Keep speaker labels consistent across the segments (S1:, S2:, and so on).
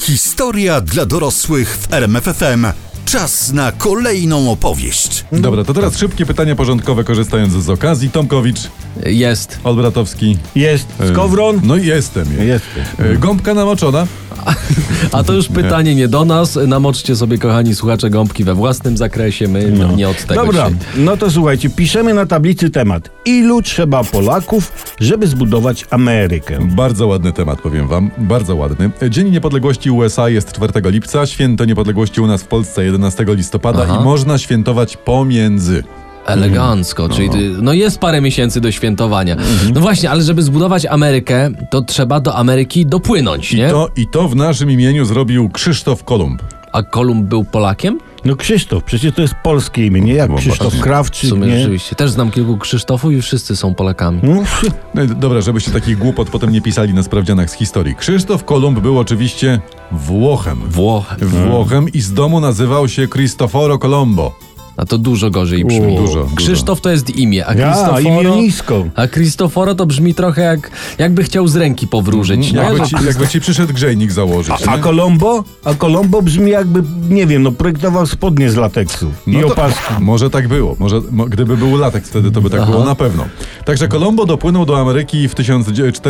S1: Historia dla dorosłych w RMFFM. Czas na kolejną opowieść.
S2: Dobra, to teraz szybkie pytania porządkowe, korzystając z okazji. Tomkowicz,
S3: Jest.
S2: Olbratowski.
S4: Jest
S2: e,
S4: skowron.
S2: No i jestem. je.
S4: Jestem.
S2: E, Gąbka namoczona.
S3: A to już pytanie nie do nas. Namoczcie sobie, kochani słuchacze, gąbki we własnym zakresie. My nie od tego
S4: Dobra,
S3: dzisiaj.
S4: no to słuchajcie, piszemy na tablicy temat. Ilu trzeba Polaków, żeby zbudować Amerykę?
S2: Bardzo ładny temat, powiem wam. Bardzo ładny. Dzień Niepodległości USA jest 4 lipca, Święto Niepodległości u nas w Polsce 11 listopada
S3: Aha.
S2: i można świętować pomiędzy.
S3: Elegancko, czyli ty, no jest parę miesięcy do świętowania. No właśnie, ale żeby zbudować Amerykę, to trzeba do Ameryki dopłynąć,
S2: I
S3: nie?
S2: to, I to w naszym imieniu zrobił Krzysztof Kolumb.
S3: A Kolumb był Polakiem?
S4: No Krzysztof, przecież to jest polskie imię, nie jak
S2: No
S4: Krzysztof
S2: właśnie.
S3: W
S4: Krawczyk,
S3: sumie
S4: nie?
S3: rzeczywiście. Też znam kilku Krzysztofów i wszyscy są Polakami.
S4: No,
S2: No i d- dobra, żebyście takich głupot potem nie pisali na sprawdzianach z historii. Krzysztof Kolumb był oczywiście Włochem.
S3: Włochem.
S2: Włochem i z domu nazywał się Cristoforo Colombo.
S3: A to dużo gorzej brzmi.
S2: Dużo, dużo.
S3: Krzysztof to jest imię, a
S4: ja,
S3: Kristoforo...
S4: imienisko.
S3: a Kristoforo to brzmi trochę jak, jakby chciał z ręki powróżyć. nie?
S2: Mhm.
S3: no,
S2: Jakby ci, jakby ci przyszedł grzejnik założyć.
S4: A, a
S2: nie?
S4: Kolombo? A Kolombo brzmi jakby, nie wiem, no projektował spodnie z lateksu i
S2: No to-
S4: opaski.
S2: Może tak było. Może, mo, gdyby był latek wtedy, to by tak było na pewno. Także Kolombo dopłynął do Ameryki w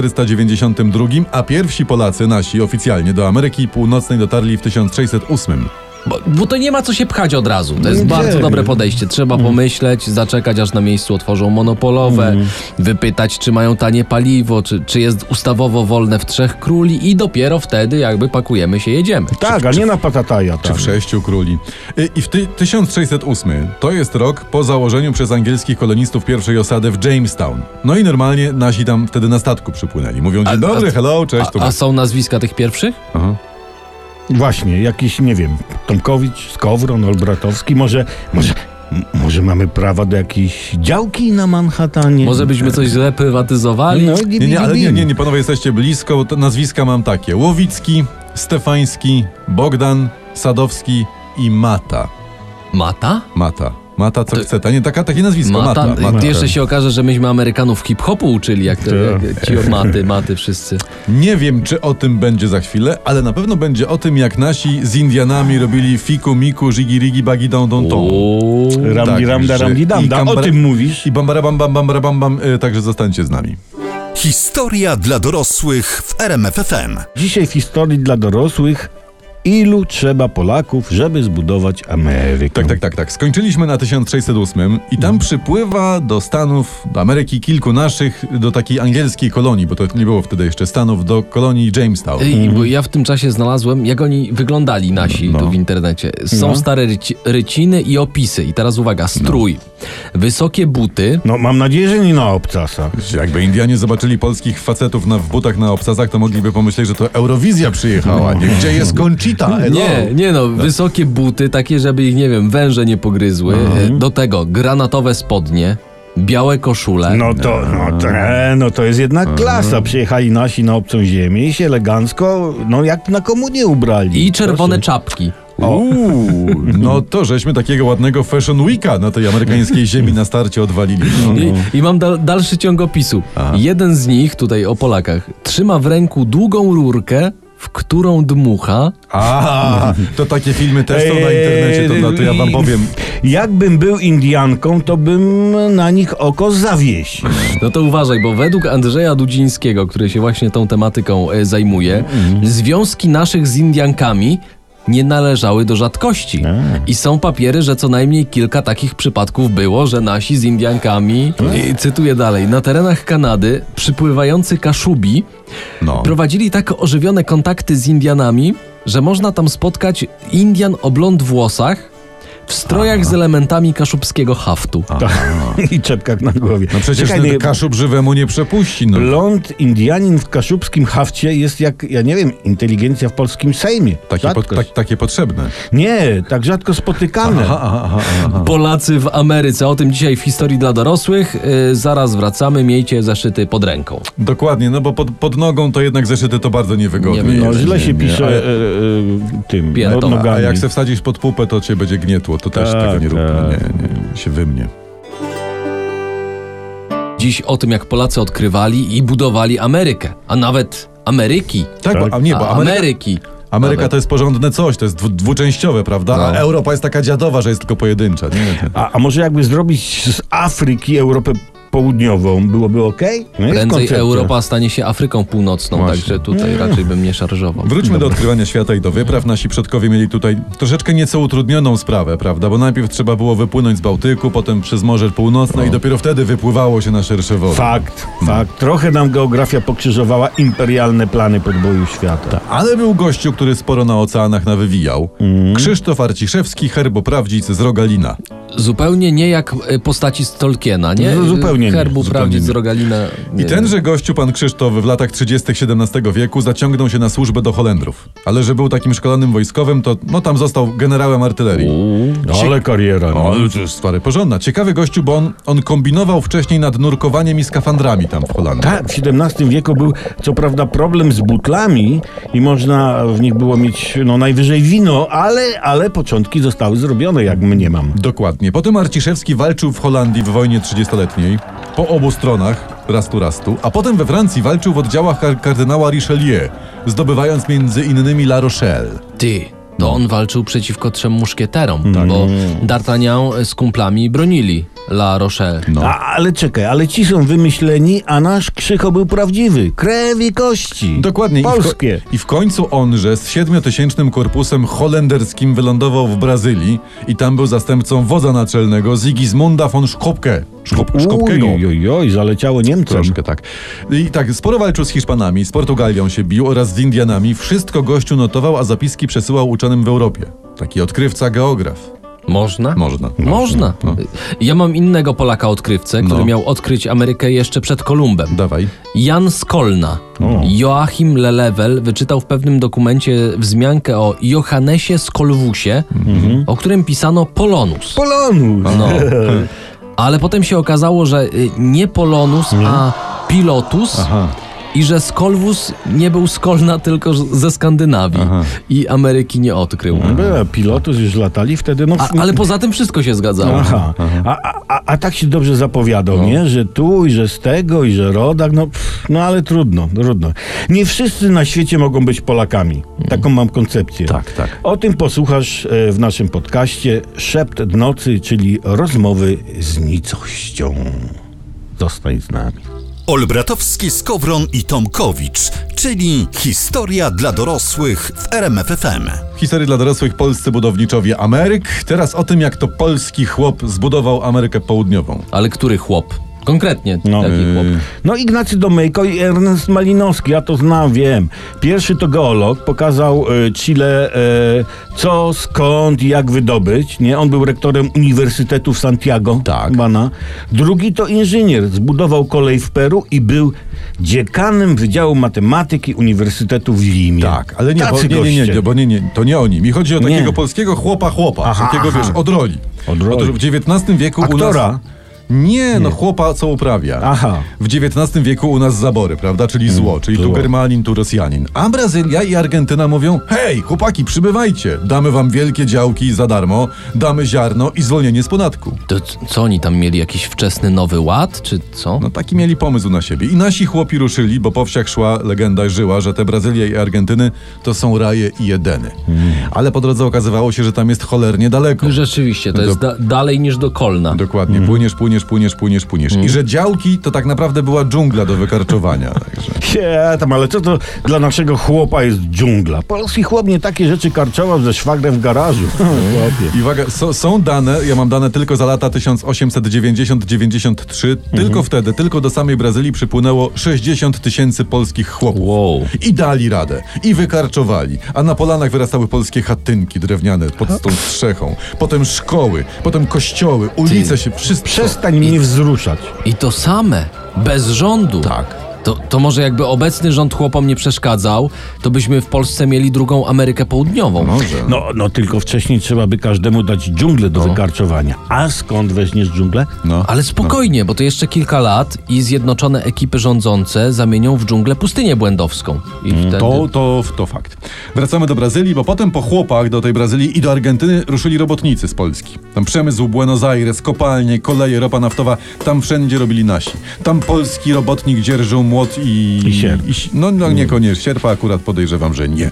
S2: 1492, a pierwsi Polacy, nasi oficjalnie, do Ameryki Północnej dotarli w 1608.
S3: Bo, bo to nie ma co się pchać od razu. To jest
S4: Nie, Mm.
S3: bardzo
S4: nie.
S3: dobre podejście. Trzeba pomyśleć, zaczekać aż na miejscu otworzą monopolowe,
S4: Mm.
S3: wypytać, czy mają tanie paliwo, czy, czy jest ustawowo wolne w Trzech Króli i dopiero wtedy jakby pakujemy się, jedziemy.
S4: Tak, a nie na patataja. tak.
S2: Czy
S4: Tam.
S2: w sześciu króli. Y, I, i w ty, 1608 to jest rok po założeniu przez angielskich kolonistów pierwszej osady w Jamestown. No i normalnie nasi tam wtedy na statku przypłynęli. Mówią, dzień
S3: A-
S2: dobry,
S3: a-
S2: hello, cześć, tu
S3: A, a są nazwiska tych pierwszych?
S2: Aha.
S4: Właśnie, jakiś, nie wiem, Tomkowicz, Skowron, Olbratowski, może, może, m- może mamy prawa do jakiejś działki na Manhattanie?
S3: Może byśmy coś źle prywatyzowali?
S4: No,
S2: Nie, nie, ale nie, nie, nie, panowie jesteście blisko, bo to nazwiska mam takie. Łowicki, Stefański, Bogdan, Sadowski i Mata.
S3: Mata?
S2: Mata. Mata co chce, ta, nie, taka, takie nazwisko, Mata.
S3: Mata?
S2: Mata,
S3: Jeszcze się okaże, że myśmy Amerykanów hip-hopu uczyli, jak, te,
S4: Tak.
S3: jak ci od maty, maty wszyscy.
S2: Nie wiem, czy o tym będzie za chwilę, ale na pewno będzie o tym, jak nasi z Indianami robili fiku, miku, żigi, rigi, bagi, dą, dą, tą.
S3: Uuu.
S4: Ramdi,
S2: Tak,
S4: ramda,
S2: że-
S4: ramdi,
S2: i
S4: damda, o
S2: kambra-
S4: tym mówisz?
S2: I bambara, bam, bam, bambara, bam, bam, y, także zostańcie z nami.
S1: Historia dla dorosłych w RMFFM.
S4: Dzisiaj w historii dla dorosłych, ilu trzeba Polaków, żeby zbudować Amerykę?
S2: Tak, tak, tak, tak. Skończyliśmy na 1608 i tam przypływa do Stanów, do Ameryki kilku naszych, do takiej angielskiej kolonii, bo to nie było wtedy jeszcze Stanów, do kolonii Jamestown.
S3: Ej, bo ja w tym czasie znalazłem, jak oni wyglądali nasi
S2: No.
S3: tu w internecie. Są
S4: No.
S3: stare ryci, ryciny i opisy. I teraz uwaga, strój, wysokie buty,
S4: No mam nadzieję, że nie na obcasach.
S2: Jakby Indianie zobaczyli polskich facetów na, w butach na obcasach, to mogliby pomyśleć, że to Eurowizja przyjechała. Nie, gdzie jest Conchita? Hello.
S3: Nie, nie no, wysokie buty, takie, żeby ich, nie wiem, węże nie pogryzły. E, Do tego granatowe spodnie, białe koszule.
S4: No to, no to, e, no to jest jednak klasa. Przyjechali nasi na obcą ziemię i się elegancko, no jak na komunię ubrali.
S3: I czerwone czapki.
S2: Uuu, no to żeśmy takiego ładnego Fashion Weeka na tej amerykańskiej ziemi na starcie odwalili. No.
S3: I, i mam dal, dalszy ciąg opisu. Jeden z nich, tutaj o Polakach, trzyma w ręku długą rurkę, w którą dmucha.
S2: A, to takie filmy też są na internecie, to, no, to ja wam powiem.
S4: Jakbym był Indianką, to bym na nich oko zawiesił.
S3: No to uważaj, bo według Andrzeja Dudzińskiego, który się właśnie tą tematyką e, zajmuje, związki naszych z Indiankami nie należały do rzadkości. I są papiery, że co najmniej kilka takich przypadków było, że nasi z Indiankami, i cytuję dalej, na terenach Kanady przypływający Kaszubi
S2: No.
S3: prowadzili tak ożywione kontakty z Indianami, że można tam spotkać Indian o blond włosach w strojach z elementami kaszubskiego haftu.
S4: I czepkach na głowie.
S2: No przecież
S4: Czekaj,
S2: ten
S4: nie-
S2: Kaszub żywemu nie przepuści. No.
S4: Blond Indianin w kaszubskim hafcie jest jak, ja nie wiem, inteligencja w polskim Sejmie.
S2: Takie,
S4: Rzadko
S2: pod, tak, takie potrzebne.
S4: Nie, tak rzadko spotykane.
S3: Polacy w Ameryce. O tym dzisiaj w historii dla dorosłych. Yy, zaraz wracamy. Miejcie zeszyty pod ręką.
S2: Dokładnie, no bo pod, pod nogą to jednak zeszyty to bardzo niewygodnie.
S3: Nie,
S4: No
S2: jest.
S4: źle się pisze
S2: ale-
S4: e, e, tym
S3: Piętą.
S4: no,
S2: A
S4: nogami.
S2: jak se wsadzisz pod pupę, to cię będzie gnietło. To też
S4: Tak,
S2: tego nie rób. no
S4: tak.
S2: Nie, nie, się wymnie.
S3: Dziś o tym, jak Polacy odkrywali i budowali Amerykę, a nawet Ameryki.
S2: Tak, Bo, a nie, bo
S3: A,
S2: Ameryka,
S3: Ameryki.
S2: Ameryka
S3: Ale-
S2: to jest porządne coś, to jest dwu- dwuczęściowe, prawda? A
S3: No.
S2: Europa jest taka dziadowa, że jest tylko pojedyncza. Nie?
S4: A, a może jakby zrobić z Afryki Europę Południową, byłoby ok? No jest
S3: Prędzej
S4: koncepcja.
S3: Europa stanie się Afryką Północną,
S2: Właśnie.
S3: także tutaj raczej bym nie szarżował.
S2: Wróćmy do odkrywania świata i do wypraw. Nasi przodkowie mieli tutaj troszeczkę nieco utrudnioną sprawę, prawda? Bo najpierw trzeba było wypłynąć z Bałtyku, potem przez Morze Północne i dopiero wtedy wypływało się na szersze wody.
S4: Fakt,
S2: No.
S4: fakt. Trochę nam geografia pokrzyżowała imperialne plany podboju świata.
S2: Ale był gościu, który sporo na oceanach nawywijał.
S4: Mhm.
S2: Krzysztof Arciszewski, herboprawdzic z Rogalina.
S3: Zupełnie nie jak e, postaci z Tolkiena, nie?
S4: No, zupełnie nie,
S3: Herbu
S2: zupełnie
S3: prawdzic
S2: nie.
S3: z Rogalina.
S2: I
S3: nie wiem.
S2: tenże gościu, pan Krzysztof, w latach 30. XVII wieku zaciągnął się na służbę do Holendrów. Ale że był takim szkolonym wojskowym, to no tam został generałem artylerii.
S4: Ale kariera.
S2: O,
S4: No.
S2: ale to jest stary porządna. Ciekawy gościu, bo on, on kombinował wcześniej nad nurkowaniem i skafandrami tam w Holandii.
S4: Tak, w XVII wieku był co prawda problem z butlami i można w nich było mieć no, najwyżej wino, ale, ale początki zostały zrobione, jak mniemam.
S2: Dokładnie. Potem Arciszewski walczył w Holandii w wojnie 30-letniej, po obu stronach, raz tu, raz tu, a potem we Francji walczył w oddziałach kar- kardynała Richelieu, zdobywając między innymi La Rochelle.
S3: Ty,
S2: No.
S3: to on walczył przeciwko trzem muszkieterom,
S2: Tak.
S3: bo
S2: Mm.
S3: D'Artagnan z kumplami bronili La Rochelle.
S2: No.
S4: A, ale czekaj, ale ci są wymyśleni, a nasz Krzycho był prawdziwy. Krew i kości.
S2: Dokładnie.
S4: Polskie.
S2: I w, ko- I w końcu onże z siedmiotysięcznym korpusem holenderskim wylądował w Brazylii i tam był zastępcą wodza naczelnego Zigismunda von Szkopke. Szkop, Szkopkego.
S4: Oj, oj, oj, zaleciało Niemcom.
S2: Troszkę tak. I tak, sporo walczył z Hiszpanami, z Portugalią się bił oraz z Indianami. Wszystko gościu notował, a zapiski przesyłał uczonym w Europie. Taki odkrywca, geograf.
S3: Można?
S2: Można.
S3: Można. Ja mam innego Polaka odkrywcę, który
S2: No.
S3: miał odkryć Amerykę jeszcze przed Kolumbem.
S2: Dawaj.
S3: Jan Skolna. Joachim Lelewel wyczytał w pewnym dokumencie wzmiankę o Johannesie Skolwusie,
S2: Mhm.
S3: o którym pisano Polonus.
S4: Polonus.
S3: No. Ale potem się okazało, że y, nie Polonus, a Pilotus. I że Skolwus nie był z Kolna, tylko z- ze Skandynawii. I Ameryki nie odkrył.
S2: Mhm.
S4: Była, pilotus już latali wtedy. No,
S3: A, ale poza tym wszystko się zgadzało.
S4: Aha. A, a, a, a tak się dobrze zapowiadał,
S2: No.
S4: nie? Że tu i że z tego i że rodak, no, pff, no ale trudno, trudno. Nie wszyscy na świecie mogą być Polakami. Taką mam koncepcję.
S2: Mm. Tak, tak.
S4: O tym posłuchasz e, w naszym podcaście Szept Nocy, czyli rozmowy z nicością. Zostań z nami.
S1: Olbratowski, Skowron i Tomkowicz, czyli historia dla dorosłych w RMFFM.
S2: Historii dla dorosłych polscy budowniczowie Ameryk. Teraz o tym, jak to polski chłop zbudował Amerykę Południową.
S3: Ale który chłop? Konkretnie
S4: No,
S3: taki
S2: y-
S4: yy,
S3: chłop.
S4: No Ignacy Domejko i Ernest Malinowski, ja to znam, wiem. Pierwszy to geolog, pokazał e, Chile e, co, skąd i jak wydobyć. Nie? On był rektorem Uniwersytetu w Santiago.
S2: Tak.
S4: Bana. Drugi to inżynier, zbudował kolej w Peru i był dziekanem Wydziału Matematyki Uniwersytetu w Limie.
S2: Tak, ale nie, bo,
S4: Tacy
S2: nie, nie, nie,
S4: goście.
S2: nie, bo nie, nie, to nie o nim. Mi chodzi o
S4: Nie.
S2: takiego polskiego chłopa chłopa,
S4: Aha,
S2: takiego
S4: aha.
S2: wiesz, od roli.
S4: Od roli.
S2: w XIX wieku u
S4: Aktora?
S2: nas... Nie, no chłopa co uprawia.
S4: Aha. Mm,
S2: W XIX wieku u nas zabory, prawda, czyli zło, czyli tu
S4: zło.
S2: Germanin, tu Rosjanin. A Brazylia i Argentyna mówią, hej, chłopaki, przybywajcie, damy wam wielkie działki za darmo, damy ziarno i zwolnienie z podatku.
S3: To c- co oni tam mieli? Jakiś wczesny nowy ład, czy co?
S2: No taki mieli pomysł na siebie. I nasi chłopi ruszyli, bo po wsiach szła legenda i żyła, że te Brazylia i Argentyny to są raje i jedeny. Ale po drodze okazywało się, że tam jest cholernie daleko.
S3: No, Rzeczywiście, to jest da- dalej niż do Kolna.
S2: Dokładnie, płyniesz, płyniesz, płyniesz, płyniesz, płyniesz. I że działki to tak naprawdę była dżungla do wykarczowania. Także.
S4: Nie, tam, ale co to dla naszego chłopa jest dżungla? Polski chłop nie takie rzeczy karczował ze szwagrem w garażu. Chłopie.
S2: I uwaga, są- są dane, ja mam dane tylko za lata 1890-93, tylko wtedy, tylko do samej Brazylii przypłynęło 60 tysięcy polskich chłopów.
S3: Wow.
S2: I dali radę, i wykarczowali, a na polanach wyrastały polskie chatynki drewniane pod tą strzechą, potem szkoły, potem kościoły, ulice się, wszystko.
S4: Przestań mnie wzruszać.
S3: I to same, bez rządu.
S2: Tak.
S3: To, to może jakby obecny rząd chłopom nie przeszkadzał, to byśmy w Polsce mieli drugą Amerykę Południową.
S2: Może.
S4: No, no tylko wcześniej trzeba by każdemu dać dżunglę do wykarczowania. A skąd weźmiesz dżunglę?
S2: No.
S3: Ale spokojnie, bo to jeszcze kilka lat i zjednoczone ekipy rządzące zamienią w dżunglę pustynię błędowską. I wtedy...
S2: Mm, To, to, to fakt. Wracamy do Brazylii, bo potem po chłopach do tej Brazylii i do Argentyny ruszyli robotnicy z Polski. Tam przemysł, Buenos Aires, kopalnie, koleje, ropa naftowa, tam wszędzie robili nasi. Tam polski robotnik dzierżył młot i...
S4: I sierp.
S2: si- no, no niekoniecznie. Sierpa akurat podejrzewam, że nie.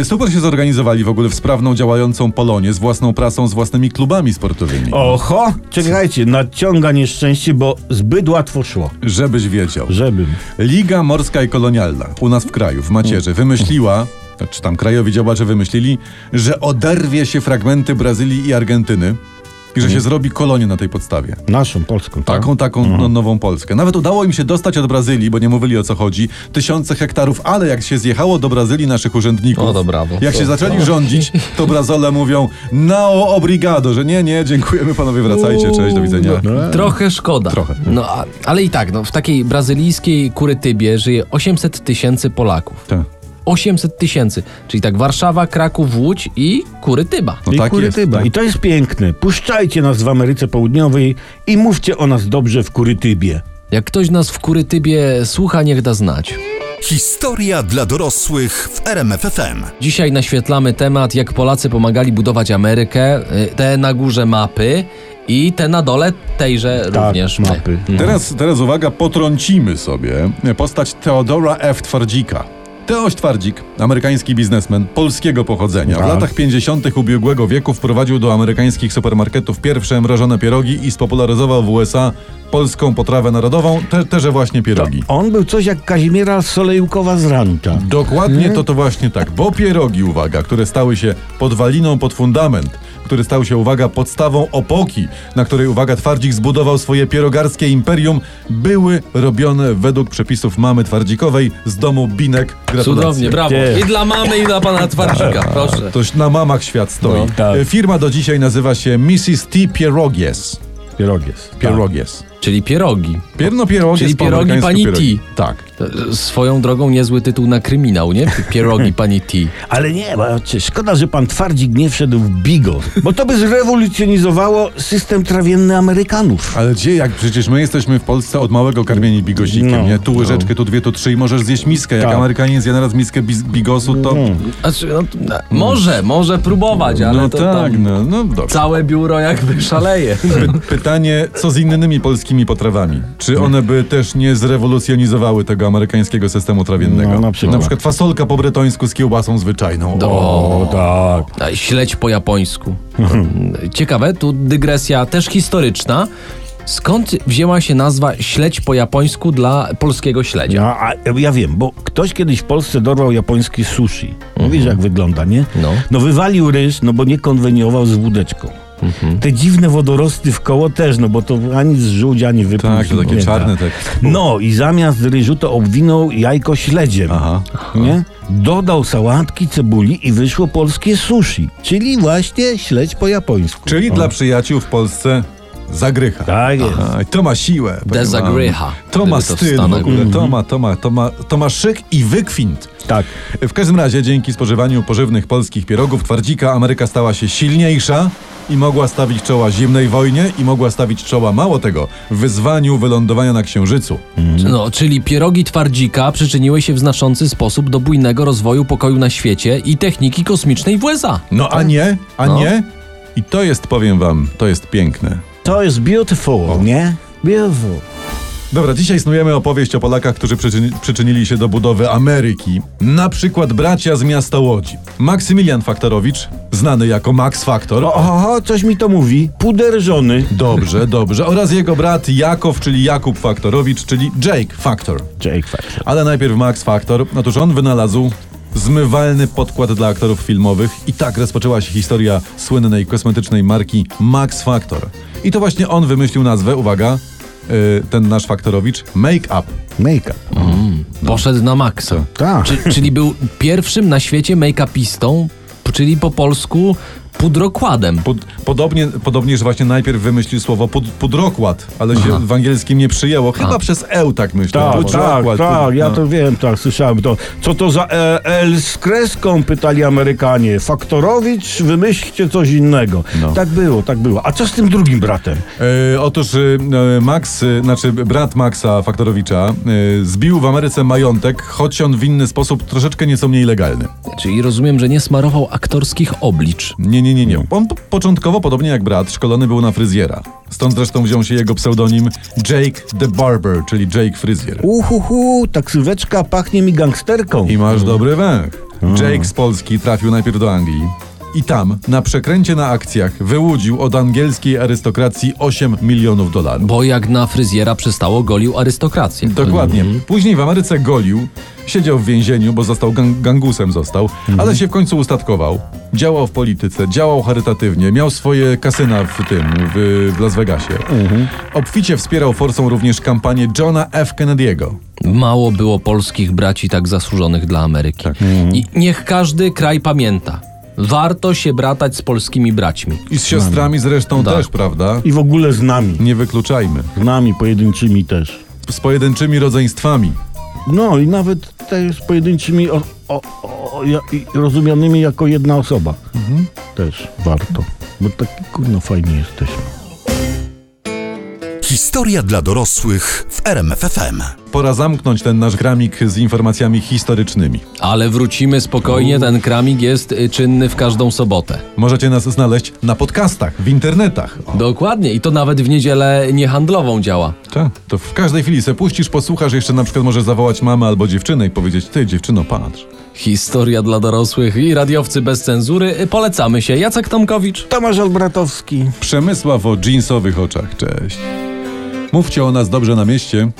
S2: E, Super się zorganizowali w ogóle w sprawną, działającą Polonię z własną prasą, z własnymi klubami sportowymi.
S4: Oho, czekajcie, nadciąga nieszczęście, bo zbyt łatwo szło.
S2: Żebyś wiedział.
S4: Żebym.
S2: Liga Morska i Kolonialna u nas w kraju, w Macierze, wymyśliła, czy tam krajowi działacze wymyślili, że oderwie się fragmenty Brazylii i Argentyny i że się
S3: Mhm.
S2: zrobi kolonię na tej podstawie.
S4: Naszą Polską, tak?
S2: Taką, taką
S3: Mhm.
S2: no, nową Polskę. Nawet udało im się dostać od Brazylii, bo nie mówili o co chodzi, tysiące hektarów, ale jak się zjechało do Brazylii naszych urzędników,
S3: O, No to brawo.
S2: jak się zaczęli rządzić, to Brazole mówią nao obrigado, że nie, nie, dziękujemy panowie, wracajcie, cześć, do widzenia.
S3: No, Trochę szkoda.
S2: Eee. Trochę.
S3: No, a, ale i tak, no, w takiej brazylijskiej Kurytybie żyje 800 tysięcy Polaków.
S2: Tak.
S3: 800 tysięcy, czyli tak Warszawa, Kraków, Łódź i Kurytyba.
S2: No
S4: I
S2: tak jest.
S4: Kurytyba. I to jest piękne. Puszczajcie nas w Ameryce Południowej i mówcie o nas dobrze w Kurytybie.
S3: Jak ktoś nas w Kurytybie słucha, niech da znać.
S1: Historia dla dorosłych w RMFFM.
S3: Dzisiaj naświetlamy temat, jak Polacy pomagali budować Amerykę, y, te na górze mapy i te na dole tejże
S2: Tak,
S3: również my.
S4: Tak, mapy.
S2: Teraz, teraz uwaga, potrącimy sobie postać Teodora F. Twardzika. Teoś Twardzik, amerykański biznesmen polskiego pochodzenia,
S4: Tak.
S2: w latach 50. ubiegłego wieku wprowadził do amerykańskich supermarketów pierwsze mrożone pierogi i spopularyzował w USA polską potrawę narodową, te, teże właśnie pierogi.
S4: On był coś jak Kazimiera Solejukowa z Rancza.
S2: Dokładnie to to właśnie tak, bo pierogi, uwaga, które stały się podwaliną pod fundament, który stał się, uwaga, podstawą opoki, na której, uwaga, Twardzik zbudował swoje pierogarskie imperium, były robione według przepisów mamy Twardzikowej z domu Binek. Gratulacje. Tak.
S3: Cudownie, brawo.
S4: Nie.
S3: I dla mamy, i dla pana Twardzika, proszę.
S2: Toś na mamach świat stoi.
S4: No, tak.
S2: E, Firma do dzisiaj nazywa się Mrs. T. Pierogies.
S3: Tak.
S4: Pierogies.
S2: Tak. Pierogies.
S3: Czyli pierogi.
S2: Pierno pierogies
S3: Czyli
S2: po
S3: pierogi
S2: amerykańsku
S3: pani
S2: pierogi.
S3: T.
S2: Tak.
S3: To- Swoją drogą niezły tytuł na kryminał, nie? Pierogi pani T.
S4: Ale nie, bo czy- szkoda, że pan Twardzik nie wszedł w bigo, bo to by zrewolucjonizowało system trawienny Amerykanów.
S2: Ale gdzie, jak przecież my jesteśmy w Polsce od małego karmieni bigosikiem,
S4: No,
S2: nie? Tu łyżeczkę, tu dwie, tu trzy i możesz zjeść miskę. Jak
S4: Tak. Mm.
S2: Amerykanin zje naraz miskę bis- bigosu, to...
S3: Znaczy, no, no, może, może próbować, ale
S2: No
S3: to
S2: tak,
S3: tam
S2: no, no dobrze.
S3: całe biuro jakby szaleje.
S2: Py- pytanie, co z innymi polskimi potrawami? Czy one by też nie zrewolucjonizowały tego amerykańskiego systemu trawiennego?
S4: No, na przykład.
S2: fasolka po bretońsku z kiełbasą zwyczajną.
S4: O, tak.
S3: A, Śledź po japońsku. Ciekawe, tu dygresja też historyczna. Skąd wzięła się nazwa śledź po japońsku dla polskiego śledzia?
S4: Ja, a, ja wiem, bo ktoś kiedyś w Polsce dorwał japoński sushi. No Wiesz,
S2: Mhm.
S4: jak wygląda, nie?
S3: No.
S4: No wywalił ryż, no bo nie konweniował z wódeczką.
S2: Mhm.
S4: Te dziwne wodorosty w koło też, no bo to ani z żółć, ani wypół.
S2: Tak, to takie
S4: nie,
S2: czarne. Tak.
S4: No i zamiast ryżu to obwinął jajko śledziem.
S2: Aha.
S4: Nie? Dodał sałatki, cebuli i wyszło polskie sushi. Czyli właśnie śledź po japońsku.
S2: Czyli
S4: O.
S2: dla przyjaciół w Polsce zagrycha.
S4: Tak jest.
S2: Aha, i to ma siłę. powiem wam.
S3: Dezagrycha,
S2: To ma
S3: gdyby to w
S2: styl w
S3: Stanach
S2: ogóle. To ma, to ma, to ma, to ma szyk i wykwint.
S4: Tak.
S2: W każdym razie dzięki spożywaniu pożywnych polskich pierogów twardzika Ameryka stała się silniejsza i mogła stawić czoła zimnej wojnie i mogła stawić czoła mało tego wyzwaniu wylądowania na Księżycu.
S3: No, czyli pierogi twardzika przyczyniły się w znaczący sposób do bujnego rozwoju pokoju na świecie i techniki kosmicznej w USA.
S2: No a nie, a
S3: No.
S2: nie. I to jest, powiem wam, to jest piękne.
S4: To jest beautiful, nie? Beautiful.
S2: Dobra, dzisiaj snujemy opowieść o Polakach, którzy przyczyni- przyczynili się do budowy Ameryki. Na przykład bracia z miasta Łodzi. Maksymilian Faktorowicz, znany jako Max Faktor.
S4: O, o, o, No, coś mi to mówi. Puder żony.
S2: Dobrze, dobrze. Oraz jego brat Jakow, czyli Jakub Faktorowicz, czyli Jake Faktor.
S4: Jake Factor.
S2: Ale najpierw Max Factor. Otóż on wynalazł zmywalny podkład dla aktorów filmowych i tak rozpoczęła się historia słynnej kosmetycznej marki Max Factor. I to właśnie on wymyślił nazwę, uwaga, yy, ten nasz Faktorowicz, Make Up.
S4: Make-up.
S3: Poszedł na maksa.
S4: Tak.
S3: Czy, czyli był pierwszym na świecie make-upistą, czyli po polsku pudrokładem.
S2: Pod, podobnie, podobnie, że właśnie najpierw wymyślił słowo pud, pudrokład, ale się w angielskim nie przyjęło. Chyba przez E tak myślę.
S4: Tak, tak,
S2: Pudrokład,
S4: tak,
S2: pud-
S4: ja
S2: no.
S4: to wiem, tak, słyszałem to. Co to za e, L z kreską, pytali Amerykanie. Faktorowicz, wymyślcie coś innego. Tak było, tak było. A co z tym drugim bratem?
S2: E, otóż y, e, Max, y, znaczy brat Maxa Faktorowicza, y, zbił w Ameryce majątek, choć on w inny sposób troszeczkę nieco mniej legalny.
S3: Czyli rozumiem, że nie smarował aktorskich oblicz.
S2: Nie, nie, nie, nie, nie. On po- początkowo, podobnie jak brat, szkolony był na fryzjera. Stąd zresztą wziął się jego pseudonim Jake the Barber, czyli Jake Fryzjer.
S4: Uhuhu, taksyweczka pachnie mi gangsterką.
S2: I masz dobry węch. Jake z Polski trafił najpierw do Anglii. I tam, na przekręcie na akcjach, wyłudził od angielskiej arystokracji 8 milionów dolarów.
S3: Bo jak na fryzjera przystało, golił arystokrację.
S2: Dokładnie. Później w Ameryce golił, siedział w więzieniu, bo został gang- gangusem został, ale się w końcu ustatkował. Działał w polityce, działał charytatywnie, miał swoje kasyna w tym, w, w Las Vegasie. Obficie wspierał forsą również kampanię Johna F. Kennedy'ego.
S3: Mało było polskich braci tak zasłużonych dla Ameryki. I niech każdy kraj pamięta. Warto się bratać z polskimi braćmi.
S2: I z siostrami zresztą
S3: Tak.
S2: też, prawda?
S4: I w ogóle z nami.
S2: Nie wykluczajmy.
S4: Z nami pojedynczymi też.
S2: Z pojedynczymi rodzeństwami.
S4: No i nawet też z pojedynczymi o, o, o, ja, i rozumianymi jako jedna osoba. Też warto. Bo taki kurno fajni jesteśmy.
S1: Historia dla dorosłych w RMFFM.
S2: Pora zamknąć ten nasz gramik z informacjami historycznymi.
S3: Ale wrócimy spokojnie, ten kramik jest y, czynny w każdą sobotę.
S2: Możecie nas znaleźć na podcastach, w internetach. O.
S3: Dokładnie, i to nawet w niedzielę niehandlową działa.
S2: Tak, to w każdej chwili se puścisz, posłuchasz, jeszcze na przykład możesz zawołać mamę albo dziewczynę i powiedzieć, ty dziewczyno, patrz.
S3: Historia dla dorosłych i radiowcy bez cenzury. Y, Polecamy się. Jacek Tomkowicz.
S4: Tomasz Albratowski.
S2: Przemysław o jeansowych oczach, cześć. Mówcie o nas dobrze na mieście.